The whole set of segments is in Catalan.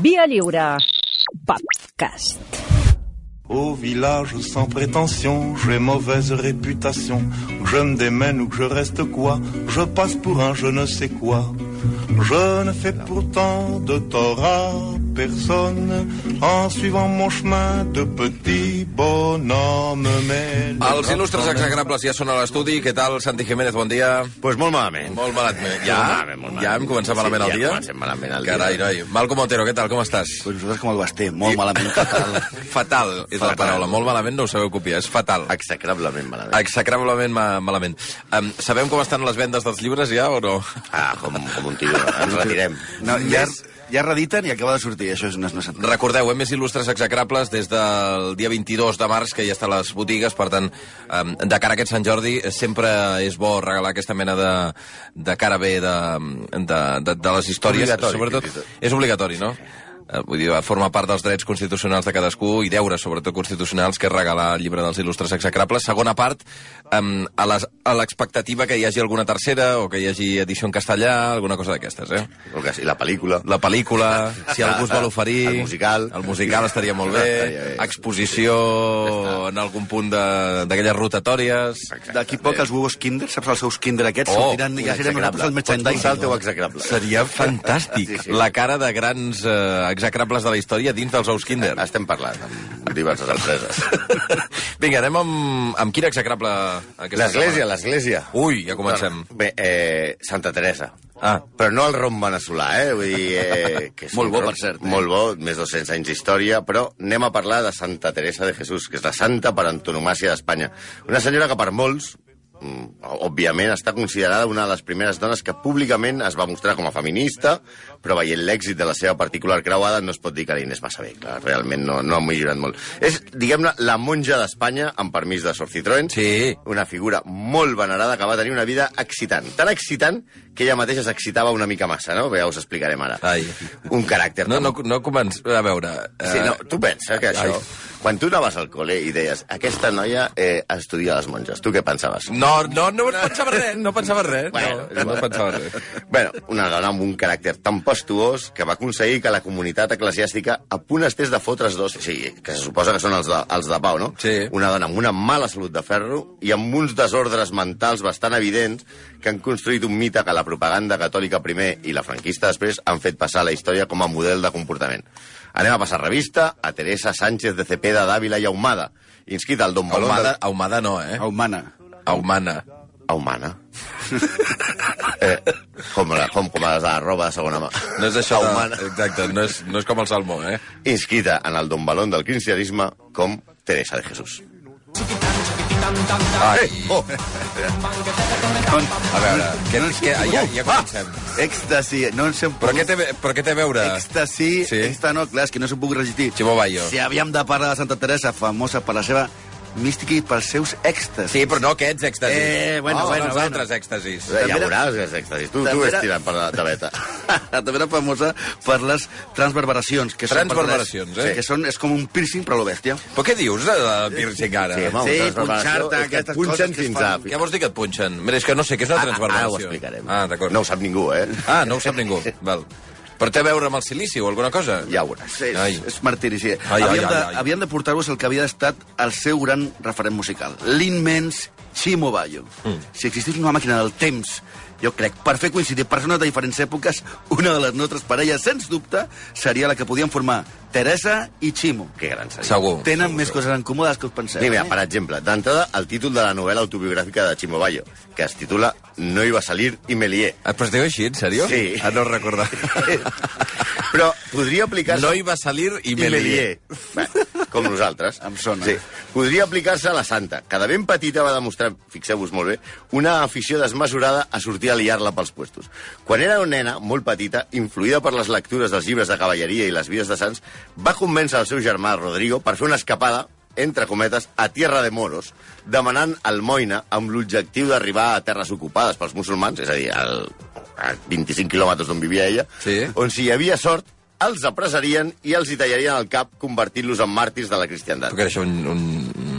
Via Lliure. Podcast. Au village sans prétention, j'ai mauvaise réputation. Que je me démène ou que je reste quoi, je passe pour un je ne sais quoi. Je ne fais pourtant de tort à personne en suivant mon chemin de petit bonhomme. Mais les Els grands il·lustres temps- exagrables ja són a l'estudi. Què tal, Santi Jiménez? Bon dia. Pues molt malament. Molt malament. Ja? Molt malament, molt malament. Ja hem començat Sí, malament el ja dia? comencem malament el dia. Carai, noi. Malcom Otero, què tal? Com estàs? Pues nosaltres com el Basté, molt malament que cal. Fatal és la Fatal. paraula. Molt malament no ho sabeu copiar. És fatal. Execrablement malament. Execrablement ma malament. Um, sabem com estan les vendes dels llibres ja o no? Ah, com, com un tio. Ens retirem. No, ja, ja rediten i acaba de sortir. Això és una, una sentada. Recordeu, hem més il·lustres execrables des del dia 22 de març, que ja està a les botigues, per tant, em, de cara a aquest Sant Jordi, eh, sempre és bo regalar aquesta mena de, de cara bé de, de, de, de les històries. Obligatori, sobretot, fins i tot. és obligatori, no? Eh, Vull dir, forma part dels drets constitucionals de cadascú i deures, sobretot constitucionals, que és regalar el llibre dels il·lustres execrables. Segona part, em, a les- a l'expectativa que hi hagi alguna tercera o que hi hagi edició en castellà, alguna cosa d'aquestes, eh? El cas- I la pel·lícula. la pel·lícula, si algú es vol oferir... El musical. El musical estaria molt Estaria bé. bé. Exposició en algun punt de- d'aquelles rotatòries. D'aquí poc els huevos kinder, saps els seus kinder aquests? Oh, sortiran i ja serem inexecrable. nosaltres el merchandising. Pots posar el teu execrable. Seria fantàstic. Sí, sí. La cara de grans eh, execrables de la història dins dels ous Kinder. Estem parlant amb diverses empreses. Vinga, anem amb, amb quin execrable... aquesta L'església, setmana? l'església. Ui, ja comencem. Bé, eh, Santa Teresa. Ah. Però no el rom veneçolà, eh? Vull dir, eh, que és Molt un bo, rom- per cert, eh? Molt bo, més de 200 anys d'història, però anem a parlar de Santa Teresa de Jesús, que és la santa per antonomàcia d'Espanya. Una senyora que per molts, mm, òbviament, està considerada una de les primeres dones que públicament es va mostrar com a feminista, però veient l'èxit de la seva particular creuada no es pot dir que la Inés massa bé, clar, realment no, no ha millorat molt. És, diguem-ne, la monja d'Espanya, amb permís de Sor Citroën, Sí. una figura molt venerada que va tenir una vida excitant. Tan excitant que ella mateixa s'excitava una mica massa, no? Bé, ja us explicarem ara. Ai. Un caràcter... No, tan- no, no començ... A veure... eh, Sí, no, tu pensa que això... Ai. Quan tu anaves al col·le i deies aquesta noia eh, estudia a les monges, tu què pensaves? No, no, no pensava res, no pensava res. Bueno, no, no pensava res. Bueno, una dona amb un caràcter tan pastuós que va aconseguir que la comunitat eclesiàstica a punt estés de fotre's dos, sí, que se suposa que són els de, els de pau, no? Sí. Una dona amb una mala salut de ferro i amb uns desordres mentals bastant evidents que han construït un mite que la propaganda catòlica primer i la franquista després han fet passar a la història com a model de comportament. Anem a passar revista a Teresa Sánchez de Cepeda d'Àvila i Ahumada, inscrita al Don Balón Ahumada, de... ahumada no, eh? humana. Ahumana. Ahumana. eh, com, la, com, com les de la roba de segona mà. No és això Ahumana. de... Exacte, no és, no és com el salmó, eh? inscrita en el Don Balón del cristianisme com Teresa de Jesús. Ai, Oh, Doncs, a veure, què, què, ja, ah. ja comencem. Èxtasi, no ens hem Però pogut... què, té, però què té a veure? Èxtasi, Sí. sí. esta no, clar, és que no s'ho puc resistir. Chimo Bayo. Si havíem de parlar de Santa Teresa, famosa per la seva mística i pels seus èxtasis. Sí, però no aquests èxtasis. Eh, bueno, no, bueno, els bueno. altres èxtasis. ja També era- veuràs que és èxtasis. Tu, tu També ves era- tirant per la tabeta. També era famosa per les transverberacions. Que són Transverberacions, per les- eh? Que són, és com un piercing, però a lo bèstia. Però què dius eh, de la piercing ara? home, Sí, una transformació punxar-te, és que aquestes punxen coses que es fins fan. a... Què vols dir que et punxen? Mira, és que no sé, què és una transverberació? Ara Ah, ho explicarem. Ah, d'acord. No ho sap ningú, eh? Ah, no ho sap ningú. Val. Però té a veure amb el silici o alguna cosa? Ja ho veuràs. Sí, Ai. és, és martiri, sí. ai, havíem, ai, de, ai. havíem de portar-vos el que havia estat el seu gran referent musical, l'immens Chimo Bayo. Mm. Si existís una màquina del temps, jo crec, per fer coincidir persones de diferents èpoques, una de les nostres parelles, sens dubte, seria la que podien formar Teresa i Chimo. Que gran seria. Segur. Tenen més coses en comú de les que us penseu. eh? Sí, mira, per exemple, d'entrada, el títol de la novel·la autobiogràfica de Chimo Bayo, que es titula No iba a salir y me lié. Ah, Però es diu així, en sèrio? Sí. Ah, no ho recordava. Però podria aplicar-se... No hi va salir i, i me lié. Melier. Bé, com nosaltres. Em sona. Sí. Podria aplicar-se a la Santa, que de ben petita va demostrar, fixeu-vos molt bé, una afició desmesurada a sortir a liar-la pels puestos. Quan era una nena, molt petita, influïda per les lectures dels llibres de cavalleria i les vides de sants, va convèncer el seu germà Rodrigo per fer una escapada entre cometes, a Tierra de Moros, demanant almoina amb l'objectiu d'arribar a terres ocupades pels musulmans, és a dir, al, a 25 quilòmetres d'on vivia ella, Sí. on si hi havia sort, els apressarien i els hi tallarien el cap convertint-los en màrtirs de la cristiandat. Perquè era això un... un...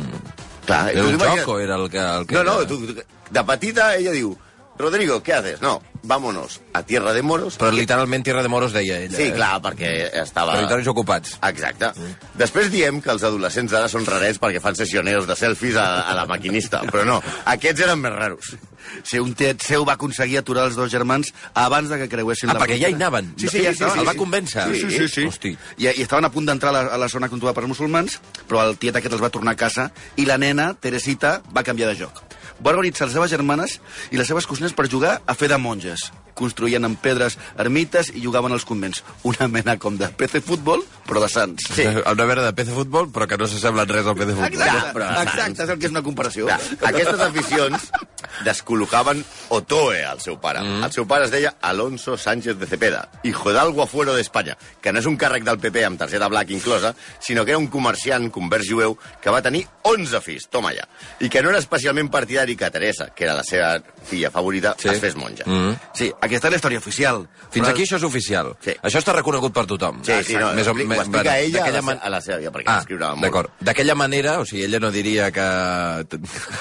Clar, Era tu un t'imagines- joc o era el que... El que No, no, era? tu, tu- de petita ella diu Rodrigo, ¿qué haces? No, vámonos a Tierra de Moros. Però literalment Tierra de Moros deia ella. Sí, eh? clar, perquè estava... Territoris ocupats. Exacte. Després diem que els adolescents ara són rarets perquè fan sessioneos de selfies a, a la maquinista, però no, aquests eren més raros. Si un tiet seu va aconseguir aturar els dos germans abans de que creuessin Ah, la perquè ja hi frontera. anaven. Sí, sí, ja Sí, sí, estaven. el va convèncer. Sí, sí, sí. sí. Hosti. I, I estaven a punt d'entrar a, la- a la zona controlada pels musulmans, però el tiet aquest els va tornar a casa i la nena, Teresita, va canviar de joc. Va organitzar les seves germanes i les seves cosines per jugar a fer de monges. Construïen amb pedres ermites i jugaven als convents. Una mena com de PC futbol, però de sants. Sí. Una vera de pez de futbol, però que no s'assembla en res al pez de futbol. Ja, Exacte, però de exacte, és el que és una comparació. Clar, aquestes aficions descol·locaven Otoe al seu pare. Mm. El seu pare es deia Alonso Sánchez de Cepeda, hijo del guafuero d'Espanya, que no és un càrrec del PP amb targeta black inclosa, sinó que era un comerciant convers jueu que va tenir 11 fills, toma ja, i que no era especialment partidari que Teresa, que era la seva filla favorita, Sí. sí. es fes monja. Mm. Sí, aquesta és la història oficial. Fins aquí això és oficial. Sí. Això està reconegut per tothom. Sí, sí, no, Més o- ho explica, més- ho explica bueno, ella a la, d'aquella se- man- a la seva, perquè ah, Ah, escriurà molt. d'acord. D'aquella manera, o sigui, ella no diria que...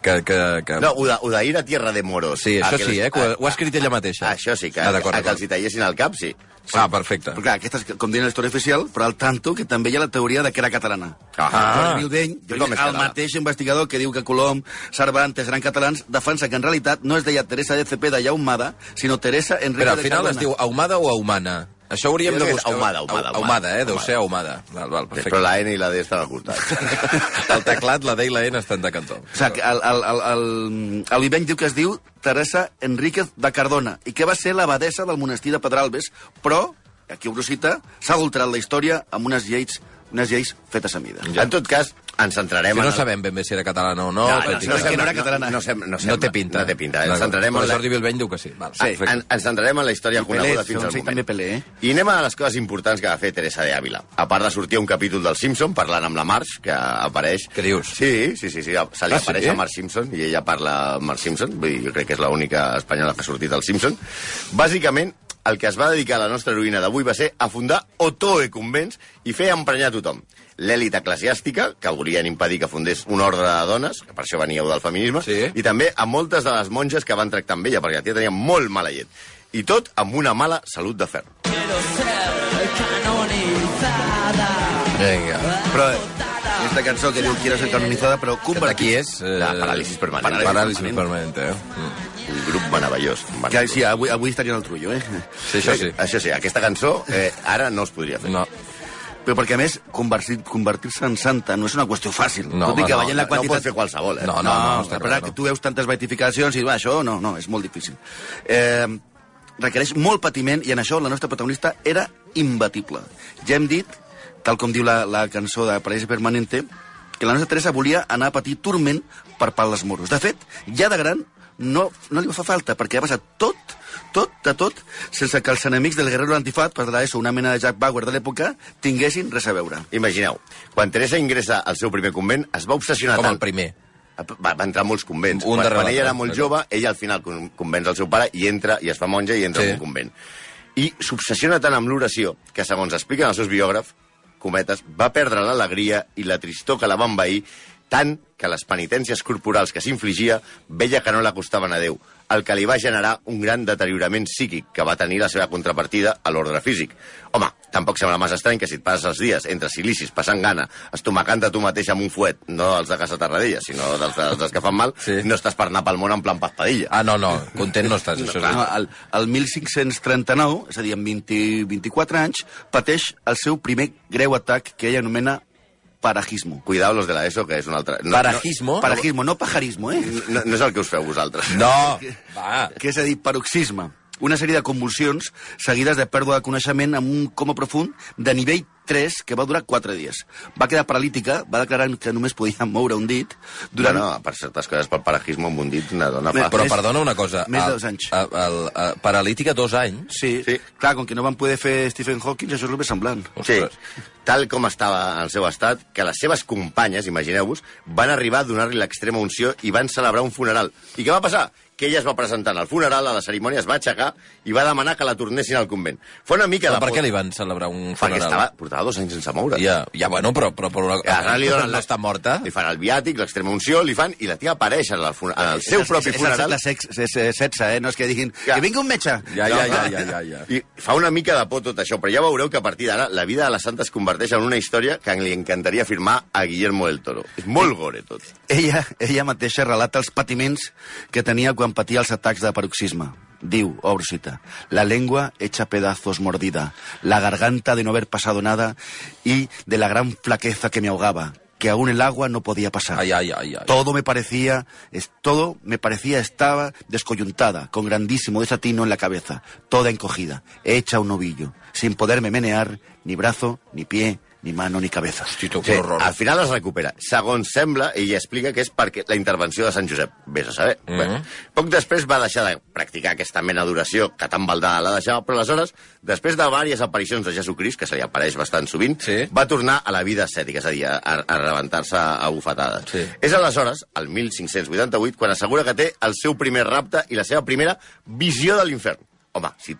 que, que, que... No, ho de, ho de ir a Tierra de Moros. Ah, sí, això Aquelles- sí, eh, que ho, ho ha escrit ella mateixa. Això sí, que, Ah, ah, d'acord, que els d'acord. hi tallessin el cap, sí. Ah, perfecte. Però clar, aquesta és, com diuen la història oficial, però al tanto que també hi ha la teoria de que era catalana. Ah. Jordi Viudeny, Jo com és el català? mateix investigador que diu que Colom, Cervantes eren catalans, defensa que en realitat no es deia Teresa de Cepeda i Ahumada, sinó Teresa Enrique Però al de final Cardona. es diu ahumada o ahumana? Això hauríem Jo de crec que és buscar. ahumada, ahumada, Ah, Ahumada, eh? Deu ahumada. ser ahumada. Val, val, perfecte. Però la N i la D estan al costat. El teclat, la D i la N estan de cantó. O sigui, que el, el, el, el, el Viveny diu que es diu Teresa Enríquez de Cardona i que va ser l'abadesa del monestir de Pedralbes, però, aquí ho cita, s'ha adulterat la història amb unes lleis, unes lleis fetes a mida. En tot cas, ens centrarem... Que no en el- sabem ben bé si era catalana o no. No, perquè- no, és que no era catalana. No, sem- no, sembla- no té pinta. No té pinta. eh? Ens D'acord. centrarem en Però la... Jordi Bilbeny diu que sí. Val, Sí, perfecte. En, ens centrarem en la història I coneguda Pelé, fins al sí, moment. també Pelé, eh? I anem a les coses importants que va fer Teresa de Ávila. A part de sortir a un capítol del Simpson parlant amb la Marge, que apareix... Què dius? Sí, sí, sí, sí se li Ah, ah, sí? apareix sí? a Marge Simpson i ella parla amb Marge Simpson. Vull dir, jo crec que és l'única espanyola que ha sortit al Simpson. Bàsicament, el que es va dedicar la nostra heroïna d'avui va ser a fundar Otoe Convents i fer emprenyar tothom. L'èlit eclesiàstica, que volien impedir que fundés un ordre de dones, que per això veníeu del feminisme, Sí. i també a moltes de les monges que van tractar amb ella, perquè la tia tenia molt mala llet. I tot amb una mala salut de ferro. Vinga. Però aquesta cançó que diu Quiero ser canonizada, però Aquest Aquí convertida... és... Eh, La paràlisi permanent. Paràlisi, paràlisi permanent, eh? Mm. Un grup meravellós. un Que, meravellós. sí, avui, avui estaria en el trullo, eh? Sí, això sí. Això sí, aquesta cançó eh, ara no es podria fer. No. Però perquè, a més, convertir- convertir-se en santa no és una qüestió fàcil. No, Tot i home, que no, veient la no ho pot quantitat... fer qualsevol, eh? No, no, no, està no, clar, clar, no. que tu veus tantes beatificacions i va, això no, no, és molt difícil. Eh, requereix molt patiment i en això la nostra protagonista era imbatible. Ja hem dit, tal com diu la, la cançó de París Permanente, que la nostra Teresa volia anar a patir turment per pal dels moros. De fet, ja de gran no, no li fa falta, perquè ha passat tot, tot de tot, sense que els enemics del guerrero antifat, per la ESO, una mena de Jack Bauer de l'època, tinguessin res a veure. Imagineu, quan Teresa ingressa al seu primer convent, es va obsessionar Com tant... el primer. Va, va entrar a molts convents. Un quan, darrere quan ella era l'altre, molt d'acord. jove, ella al final con- convenç el seu pare i entra, i es fa monja i entra Sí. sí. en un convent. I s'obsessiona tant amb l'oració que, segons expliquen els seus biògrafs, cometes, va perdre l'alegria i la tristor que la va envair tant que les penitències corporals que s'infligia veia que no l'acostaven a Déu, el que li va generar un gran deteriorament psíquic que va tenir la seva contrapartida a l'ordre físic. Home, tampoc sembla massa estrany que si et passes els dies entre silicis, passant gana, estomacant de tu mateix amb un fuet, no els de Casa Tarradellas, sinó dels, dels, dels que fan mal, Sí. sí. no estàs per anar pel món en plan paspadilla. Ah, no, no, content no estàs, això No, és... el, el 1539, és a dir, amb 20, 24 anys, pateix el seu primer greu atac que ell anomena parajismo. Cuidao los de la ESO, que és un altre... No, Parajismo? Oh. Parajismo, no pajarismo, eh? No, no, no és el que us feu vosaltres. No, Ah. va. que és a dir, paroxisme. Una sèrie de convulsions seguides de pèrdua de coneixement amb un coma profund de nivell 3 que va durar 4 dies. Va quedar paralítica, va declarar que només podia moure un dit Durant... durant... Bueno, per certes coses, per parajismo amb un dit, una dona Bé, fa... Ah, Però Més- perdona una cosa. més de el- dos anys. El, el, el, paralítica, dos anys? Sí, Sí. sí, clar, com que no van poder fer Stephen Hawking, això és el més semblant. Sí, Ostres. tal com estava en el seu estat, que les seves companyes, imagineu-vos, van arribar a donar-li l'extrema unció i van celebrar un funeral. I què va passar? que ella es va presentar al funeral, a la cerimònia, es va aixecar i va demanar que la tornessin al convent. Fa una mica Però de... per por- què li van celebrar un Perquè funeral? estava, portava dos anys sense moure. Ja, ja bueno, però... però, però I ara li donen no està morta? Li fan el viàtic, l'extrema unció, li fan... I la tia apareix en el, fun- en el seu propi és, funeral. És el segle sex- se- se- setze, eh? No és que diguin... Ja. Que vingui un metge! Ja, ja, No, ja, clar. ja, ja, ja. I fa una mica de por tot això, però ja veureu que a partir d'ara la vida de la Santa es converteix en una història que li encantaria firmar a Guillermo del Toro. És molt gore tot. Ella, ella mateixa relata els patiments que tenia quan patia els atacs de paroxisme. Diu, obro cita, la lengua hecha pedazos mordida, la garganta de no haber pasado nada y de la gran flaqueza que me ahogaba, que aún el agua no podía pasar. Ai, ai, ai, ai. Todo me parecía, es- todo me parecía estaba descoyuntada, con grandísimo desatino en la cabeza, toda encogida, hecha un ovillo, sin poderme menear ni brazo, ni pie, ni mano, ni cabeza. Hosti, tu, Sí, que horror. al final es recupera. Segons sembla, ella explica que és perquè la intervenció de Sant Josep. Vés a saber. Mm Mhm. -hmm. Bé, poc després va deixar de practicar aquesta mena d'oració que tan baldada la deixava, però aleshores, després de diverses aparicions de Jesucrist, que se li apareix bastant sovint, Sí. va tornar a la vida ascètica, és a dir, a, a, a rebentar-se a bufetades. Sí. És aleshores, al 1588, quan assegura que té el seu primer rapte i la seva primera visió de l'infern. Home, si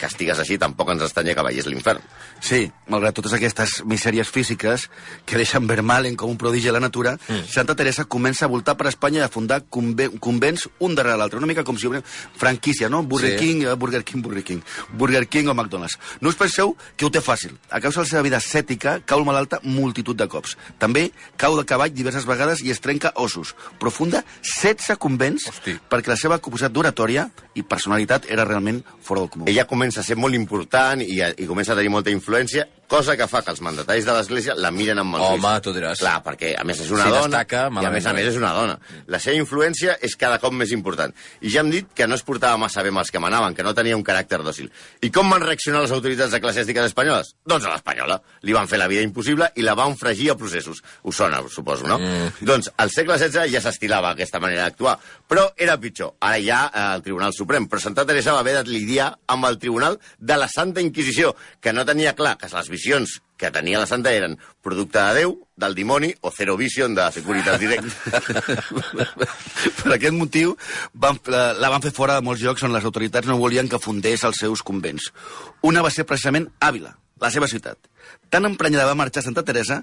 castigues així, tampoc ens estranya que veiés l'infern. Sí, malgrat totes aquestes misèries físiques que deixen ver Malen com un prodigi a la natura, mm. Santa Teresa comença a voltar per Espanya i a fundar conve convents un darrere l'altre, una mica com si obrim franquícia, no? Burger Sí. sí. King, eh, Burger King, Burger King, Burger King o McDonald's. No us penseu que ho té fàcil. A causa de la seva vida ascètica, cau malalta multitud de cops. També cau de cavall diverses vegades i es trenca ossos. Profunda 16 convents Hosti. perquè la seva capacitat d'oratòria i personalitat era realment fora del comú. ella comença a ser molt important i, i comença a tenir molta influència, cosa que fa que els mandataris de l'Església la miren amb mals Home, ulls. tu diràs. Clar, perquè a més és una Si dona destaca, i a malament més a no més és. és una dona. La seva influència és cada cop més important. I ja hem dit que no es portava massa bé amb els que manaven, que no tenia un caràcter dòcil. I com van reaccionar les autoritats eclesiàstiques espanyoles? Doncs a l'espanyola. Li van fer la vida impossible i la van fregir a processos. Us sona, suposo, no? Mm. Doncs al segle XVI ja s'estilava aquesta manera d'actuar, però era pitjor. Ara hi ha eh, el Tribunal Suprem, però Santa Teresa va haver de lidiar amb el Tribunal de la Santa Inquisició, que no tenia clar que les visions que tenia la santa eren producte de Déu, del dimoni o Zero Vision de Securitas Direct. Per aquest motiu van, la, la van fer fora de molts llocs on les autoritats no volien que fundés els seus convents. Una va ser precisament Ávila, la seva ciutat. Tan emprenyada va marxar Santa Teresa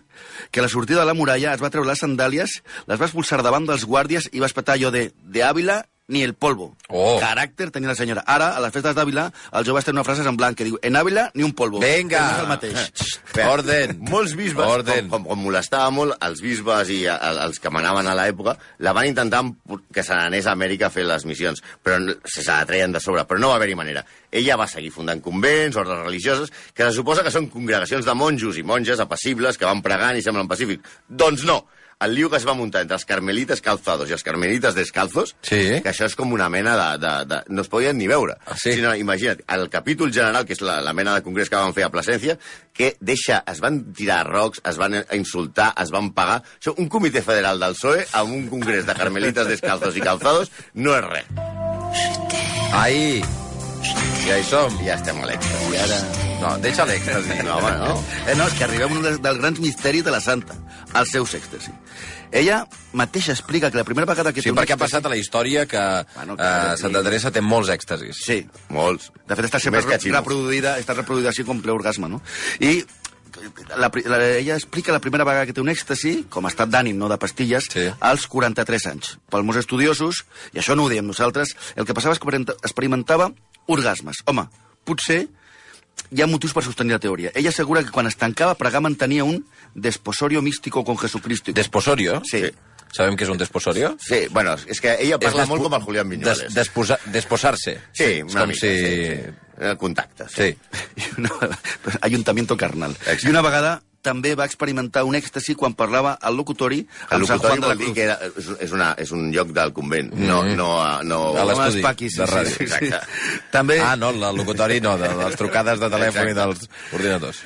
que a la sortida de la muralla es va treure les sandàlies, les va expulsar davant dels guàrdies i va espetar allò de «de Ávila ni el polvo». Oh. Caràcter tenia la senyora. Ara, a les festes d'Àvila, els joves tenen una frase en blanc que diu «en Ávila ni un polvo». Vinga! És el mateix. Bé, Orden! Molts bisbes, Orden. Com, com, com molestava molt, els bisbes i eh, els que manaven a l'època, la van intentar empu- que se n'anés a Amèrica a fer les missions, però n- se se la treien de sobre, però no va haver-hi manera. Ella va seguir fundant convents, ordres religioses, que se suposa que són congregacions de monjos i monges apassibles que van pregant i semblen pacífics. Doncs no! El liu que es va muntar entre els carmelites calzados i els carmelites descalzos, Sí. que això és com una mena de... de, de no es podien ni veure. Ah, sí? Sinó, imagina't, el capítol general, que és la, la mena de congrés que van fer a Plasencia, que deixa, es van tirar rocs, es van insultar, es van pagar... Això, un comitè federal del PSOE amb un congrés de carmelites descalzos i calzados no és res. Ai! Ja hi som. I ja estem a l'extra. I ara... No, deixa l'èxtasi. No, home, no. Eh, no, és que arribem a un dels, dels grans misteris de la santa, el seu èxtasi. Ella mateixa explica que la primera vegada que Sí, un perquè ha èxtasi- passat a la història que Bueno, eh, clar, Santa sí. Teresa té molts èxtasis. Sí. Molts. De fet, està sempre Més que re- xinos. reproduïda, està reproduïda així com ple orgasme, no? I la, pri- la, ella explica la primera vegada que té un èxtasi, com a estat d'ànim, no de pastilles, Sí. als 43 anys. Pels molts estudiosos, i això no ho diem nosaltres, el que passava és que experimenta- experimentava orgasmes. Home, potser hi ha motius per sostenir la teoria. Ella assegura que quan es tancava a pregar mantenia un desposorio místico con Jesucristo. Desposorio? Sí. Sabem que és un desposorio? Sí, bueno, és que ella parla És molt despo- com el Julián Viñuales. Des, desposa, desposar-se. Sí, És una com mica. si... Sí, sí. Eh, Contactes. Sí. I una, ayuntamiento carnal. Exacte. I una vegada també va experimentar un èxtasi quan parlava al locutori El amb San locutori Juan de la vol dir Cruz. que era, és, és, una, és un lloc del convent, no, no, no, A Com l'estudi els paquis, de sí, ràdio. sí, sí. Exacte. També, Ah, no, el locutori no, de, de les trucades de telèfon i dels ordinadors.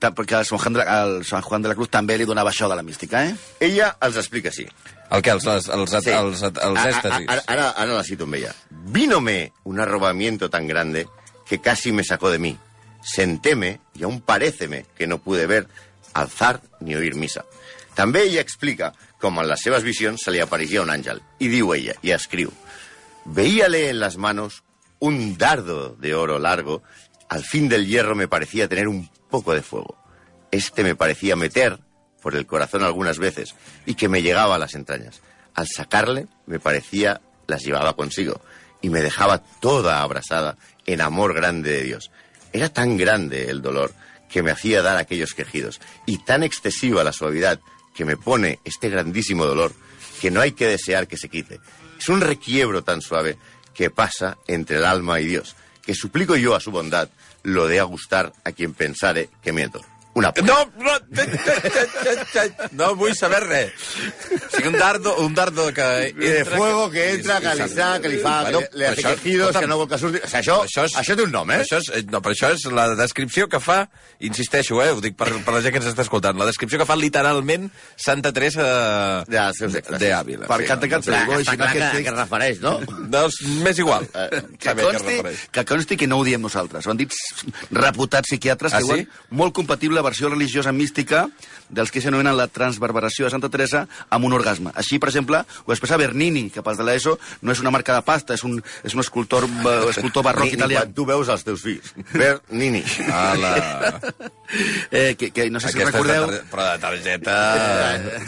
ta- perquè al San, Juan de la, al San Juan de la Cruz també li donava això de la mística, eh? Ella els explica així. El que, els, els, els, Sí. els, els, els A- a- èxtasis. a- Ara, ara la cito amb ella. Vínome un arrobamiento tan grande que casi me sacó de mí. Sentéme y aún paréceme que no pude ver, alzar ni oír misa. També ella explica com en les seves visions se li apareixia un àngel. I diu ella, i escriu, Veíale en las manos un dardo de oro largo. Al fin del hierro me parecía tener un poco de fuego. Este me parecía meter por el corazón algunas veces y que me llegaba a las entrañas. Al sacarle, me parecía las llevaba consigo y me dejaba toda abrasada en amor grande de Dios. Era tan grande el dolor que me hacía dar aquellos quejidos y tan excesiva la suavidad que me pone este grandísimo dolor que no hay que desear que se quite. Es un requiebro tan suave que pasa entre el alma y Dios, que suplico yo a su bondad lo de a gustar a quien pensare que miento. Una puta. No, no, no vull saber res. O sigui, un dardo, un dardo que... I de Eh, fuego que entra, que li sa, que li fa, que li- li hace quejidos, que no vol que surti... O sigui, això, això, això té un nom, eh? Això és, eh, no, però això és la descripció que fa, insisteixo, eh, ho dic per, per la gent que ens està escoltant, la descripció que fa literalment Santa Teresa De als seus exes. de Ávila. Per catecat, Clar, Però, està així, clar aquest que, text- que es refereix, no? Doncs m'és igual. Eh, Que Saber a què es consti, refereix. que consti que no ho diem nosaltres. Ho han dit reputats psiquiatres Ah, que diuen sí? molt compatible la versió religiosa mística dels que s'anomenen la transverberació de Santa Teresa amb un orgasme. Així, per exemple, ho expressa Bernini, que pels de l'ESO no és una marca de pasta, és un, és un escultor, eh, escultor barroc Ni- ni italià. quan tu veus els teus fills. Bernini. Ala. Eh, que, que no sé si Aquesta és de recordeu... eh, tar- Però de targeta...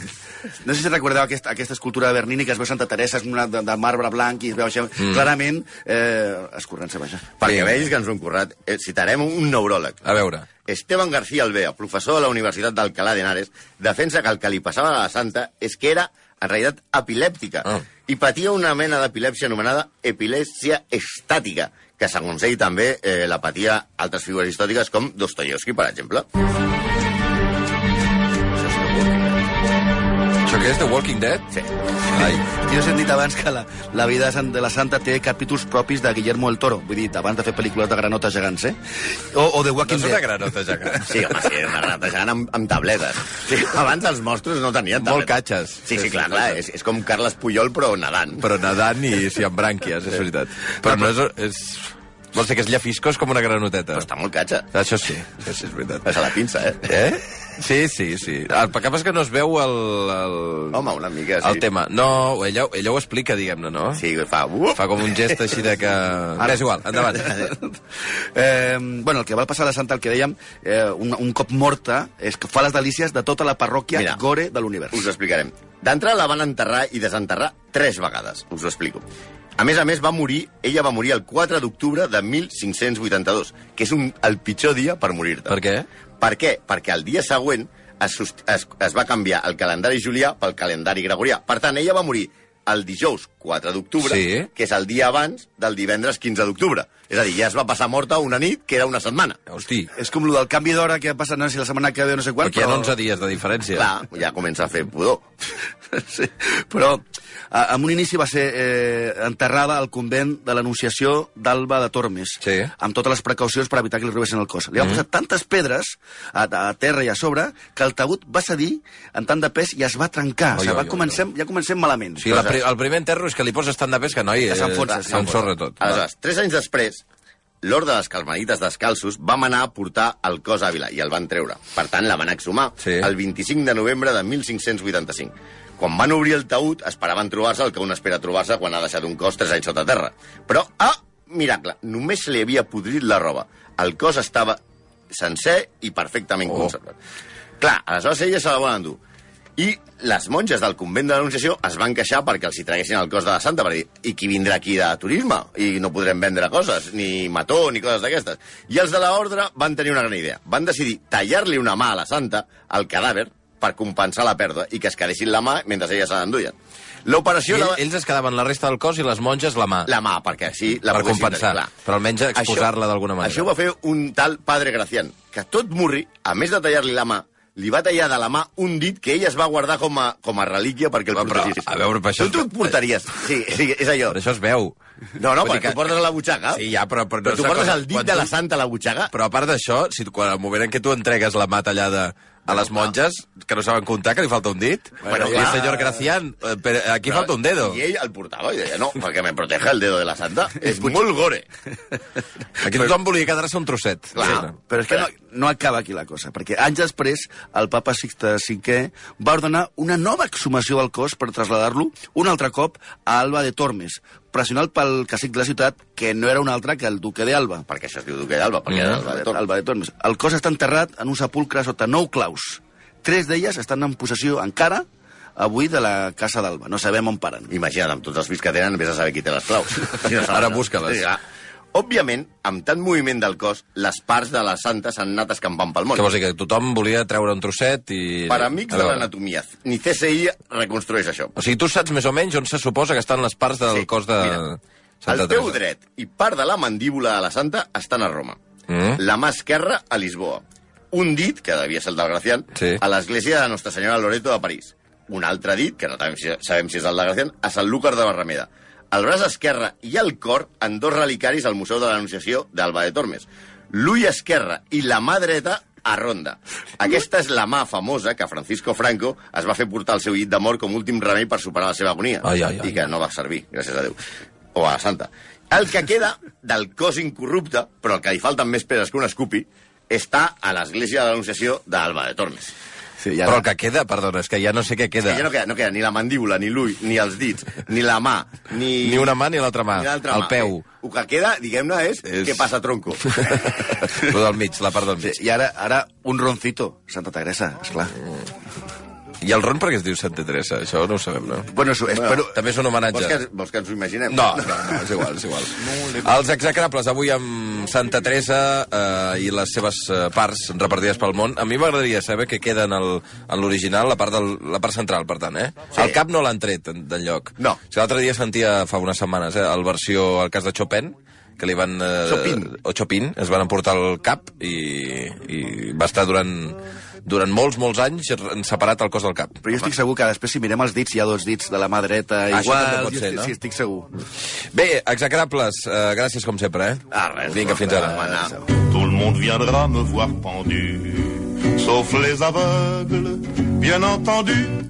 No sé si recordeu aquesta, aquesta escultura de Bernini que es veu Santa Teresa, és una de, de marbre blanc i es veu això, mm. clarament eh, escorrent-se, vaja. Perquè Vinga. veis que ens ho hem currat, eh, citarem un neuròleg. A veure. Esteban García Albea, professor de la Universitat d'Alcalá de Henares, defensa que el que li passava a la santa és que era, en realitat, epilèptica Ah. i patia una mena d'epilèpsia anomenada epilèpsia estàtica, que segons ell també eh, la patia altres figures històriques com Dostoyevsky, per exemple. Això què és, The Walking Dead? Sí. Ai, Jo he sentit abans que la, la vida de, Sant, de la Santa té capítols propis de Guillermo el Toro, vull dir, abans de fer pel·lícules de granotes gegants, eh? O, o de no Walking és una Dead. granota, ja que... Sí, home, sí, una granota gegant amb, amb tabletes. Sí, abans els monstros no tenien tabletes. Molt catxes. Sí, sí, clar, clar, és, és com Carles Puyol, però nedant. Però nedant i si amb brànquies, és veritat. Però no és... és... Vols dir que és llefiscós com una granoteta? Però està molt catxa. Això sí, això sí, és veritat. És a la pinça, eh? Eh? Sí, sí, sí. El que passa és que no es veu el... el... Home, una mica, Oh, sí. El tema. No, ella, ella ho explica, diguem-ne, no? Sí, fa... Uf, Fa com un gest així de que... Ara és igual, endavant. Eh, bueno, el que va passar a la Santa, el que dèiem, eh, un, un cop morta, és que fa les delícies de tota la parròquia Mira, gore de l'univers. Us ho explicarem. D'entrada la van enterrar i desenterrar tres vegades. Us ho explico. A més a més, va morir, ella va morir el 4 d'octubre de 1582, que és un, el pitjor dia per morir-te. Per què? Per què? Perquè el dia següent es, sust- es, es va canviar el calendari julià pel calendari gregorià. Per tant, ella va morir el dijous 4 d'octubre, Sí. que és el dia abans del divendres 15 d'octubre. És a dir, ja es va passar morta una nit, que era una setmana. Hosti, És com el del canvi d'hora que ha passat, no sé si la setmana que ve o no sé quan, aquí hi ha 11 dies de diferència. Clar, ja comença a fer pudor. sí, però a, en un inici va ser eh, enterrada al convent de l'Anunciació d'Alba de Tormes, Sí. Mm. amb totes les precaucions per evitar que li robessin el cos. Li van posar tantes pedres a, a terra i a sobre que el taüt va cedir en tant de pes i es va Oi, trencar. o sigui, oi, va oi, comencem, ja comencem malament. O sigui, la, pri- el primer enterro és que li poses tant de pes que, noi, eh, s'enfonsa, sí. s'ensorra tot. Aleshores, tres anys després, l'Orde dels Carmelites Descalços va manar a portar el cos a Ávila i el van treure. Per tant, la van exhumar Sí. el 25 de novembre de 1585. Quan van obrir el taüt, esperaven trobar-se el que un espera trobar-se quan ha deixat un cos tres anys sota terra. Però, ah, miracle, només se li havia podrit la roba. El cos estava sencer i perfectament Oh. oh. conservat. Clar, aleshores ella se la volen endur. I les monges del convent de l'Anunciació es van queixar perquè els hi traguessin el cos de la santa, per dir, i qui vindrà aquí de turisme? I no podrem vendre coses, ni mató, ni coses d'aquestes. I els de l'ordre van tenir una gran idea. Van decidir tallar-li una mà a la santa, al cadàver, per compensar la pèrdua, i que es quedessin la mà mentre ella se l'enduien. I L'operació... ell, la... ells es quedaven la resta del cos i les monges la mà. La mà, perquè així la Per poguessin compensar, tenir, clar. però almenys exposar-la Això- d'alguna manera. Això ho va fer un tal padre Gracián, que tot murri, a més de tallar-li la mà, li va tallar de la mà un dit que ell es va guardar com a, com a relíquia perquè el Va, però, protegís. a veure, però això- eh, Tu, tu et portaries... Sí, sí, és allò. Però això es veu. No, no, Vull dir perquè que- tu portes a la butxaca. Sí, ja, però- però no però tu és una portes cosa- el dit quan de la tu- santa a la butxaca. Però a part d'això, si tu, quan el moment en què tu entregues la mà tallada a les monges, que no saben comptar, que li falta un dit, Bueno, bueno, i el clar. senyor Gracián, eh, per, aquí falta un dedo. I ell el portava i deia, no, perquè me proteja el dedo de la santa. És molt gore. Aquí tothom volia quedar-se un trosset. Clar. Sí, no? Però és que no, no acaba aquí la cosa, perquè anys després el papa Sixte V va ordenar una nova exhumació del cos per traslladar-lo un altre cop a Alba de Tormes, pressionat pel cacic de la ciutat, que no era un altre que el duque d'Alba. Perquè això es diu Duque d'Alba, perquè Mm. era Alba de Tor. Alba de Tormes. El cos està enterrat en un sepulcre sota nou claus. Tres d'elles estan en possessió encara avui de la casa d'Alba. No sabem on paren. Imagina't, amb tots els fills que tenen, vés a saber qui té les claus. Si no saben, Ara no? busca-les. Sí, clar. Òbviament, amb tant moviment del cos, les parts de la santa s'han anat escampant pel món. Què vols dir, que tothom volia treure un trosset i... Per amics A de veure. l'anatomia, ni CSI reconstrueix això. O sigui, tu saps més o menys on se suposa que estan les parts del Sí, cos de mira, Santa el peu Teresa. dret i part de la mandíbula de la santa estan a Roma. Mm. La mà esquerra a Lisboa. Un dit, que devia ser el del Gracián, Sí. a l'església de Nostra Senyora Loreto de París. Un altre dit, que no sabem si- sabem si és el del Gracián, a Sant Lúcar de Barrameda. El braç esquerre i el cor en dos relicaris al Museu de l'Anunciació d'Alba de Tormes. L'ull esquerre i la mà dreta a Ronda. Aquesta és la mà famosa que Francisco Franco es va fer portar al seu llit de mort com últim remei per superar la seva agonia. Ai, ai, ai. I que no va servir, gràcies a Déu. O a la Santa. El que queda del cos incorrupte, però el que li falten més peres que un escupi, està a l'església de l'Anunciació d'Alba de Tormes. Sí, Però el que queda, perdona, és que ja no sé què queda. Que ja no queda, no queda ni la mandíbula, ni l'ull, ni els dits, ni la mà, ni... Ni una mà ni l'altra mà. ni l'altra el mà. peu. Eh, El que queda, diguem-ne, És- és, és... què passa, tronco. Lo del mig, la part del Sí, mig. I ara, ara un roncito, Santa Teresa, esclar. I el ron per què es diu Santa Teresa? Això no ho sabem, no? Bueno, su- espero... També és un homenatge. vols, que, vols que ens ho imaginem? No, no, no, és igual, és igual. Els execrables, avui amb Santa Teresa eh, i les seves eh, parts repartides pel món. A mi m'agradaria saber què queda en el- en l'original, la, part del, la part central, per tant, eh? Sí. El cap no l'han tret en- d'enlloc. No. Si l'altre dia sentia, fa unes setmanes, eh, el versió, el cas de Chopin, que li van... Eh, Chopin. O Chopin, es van emportar el cap i, i va estar durant, durant molts, molts anys separat el cos del cap. Però jo estic segur que després si mirem els dits hi ha dos dits de la mà dreta Ah, Això igual. també pot jo ser, estic, no? Sí, estic segur. Bé, execrables, eh, gràcies com sempre, eh? Ah, res. Vinga, fins ara. Demana. Tout le monde viendra me voir pendu, sauf les aveugles, bien entendu.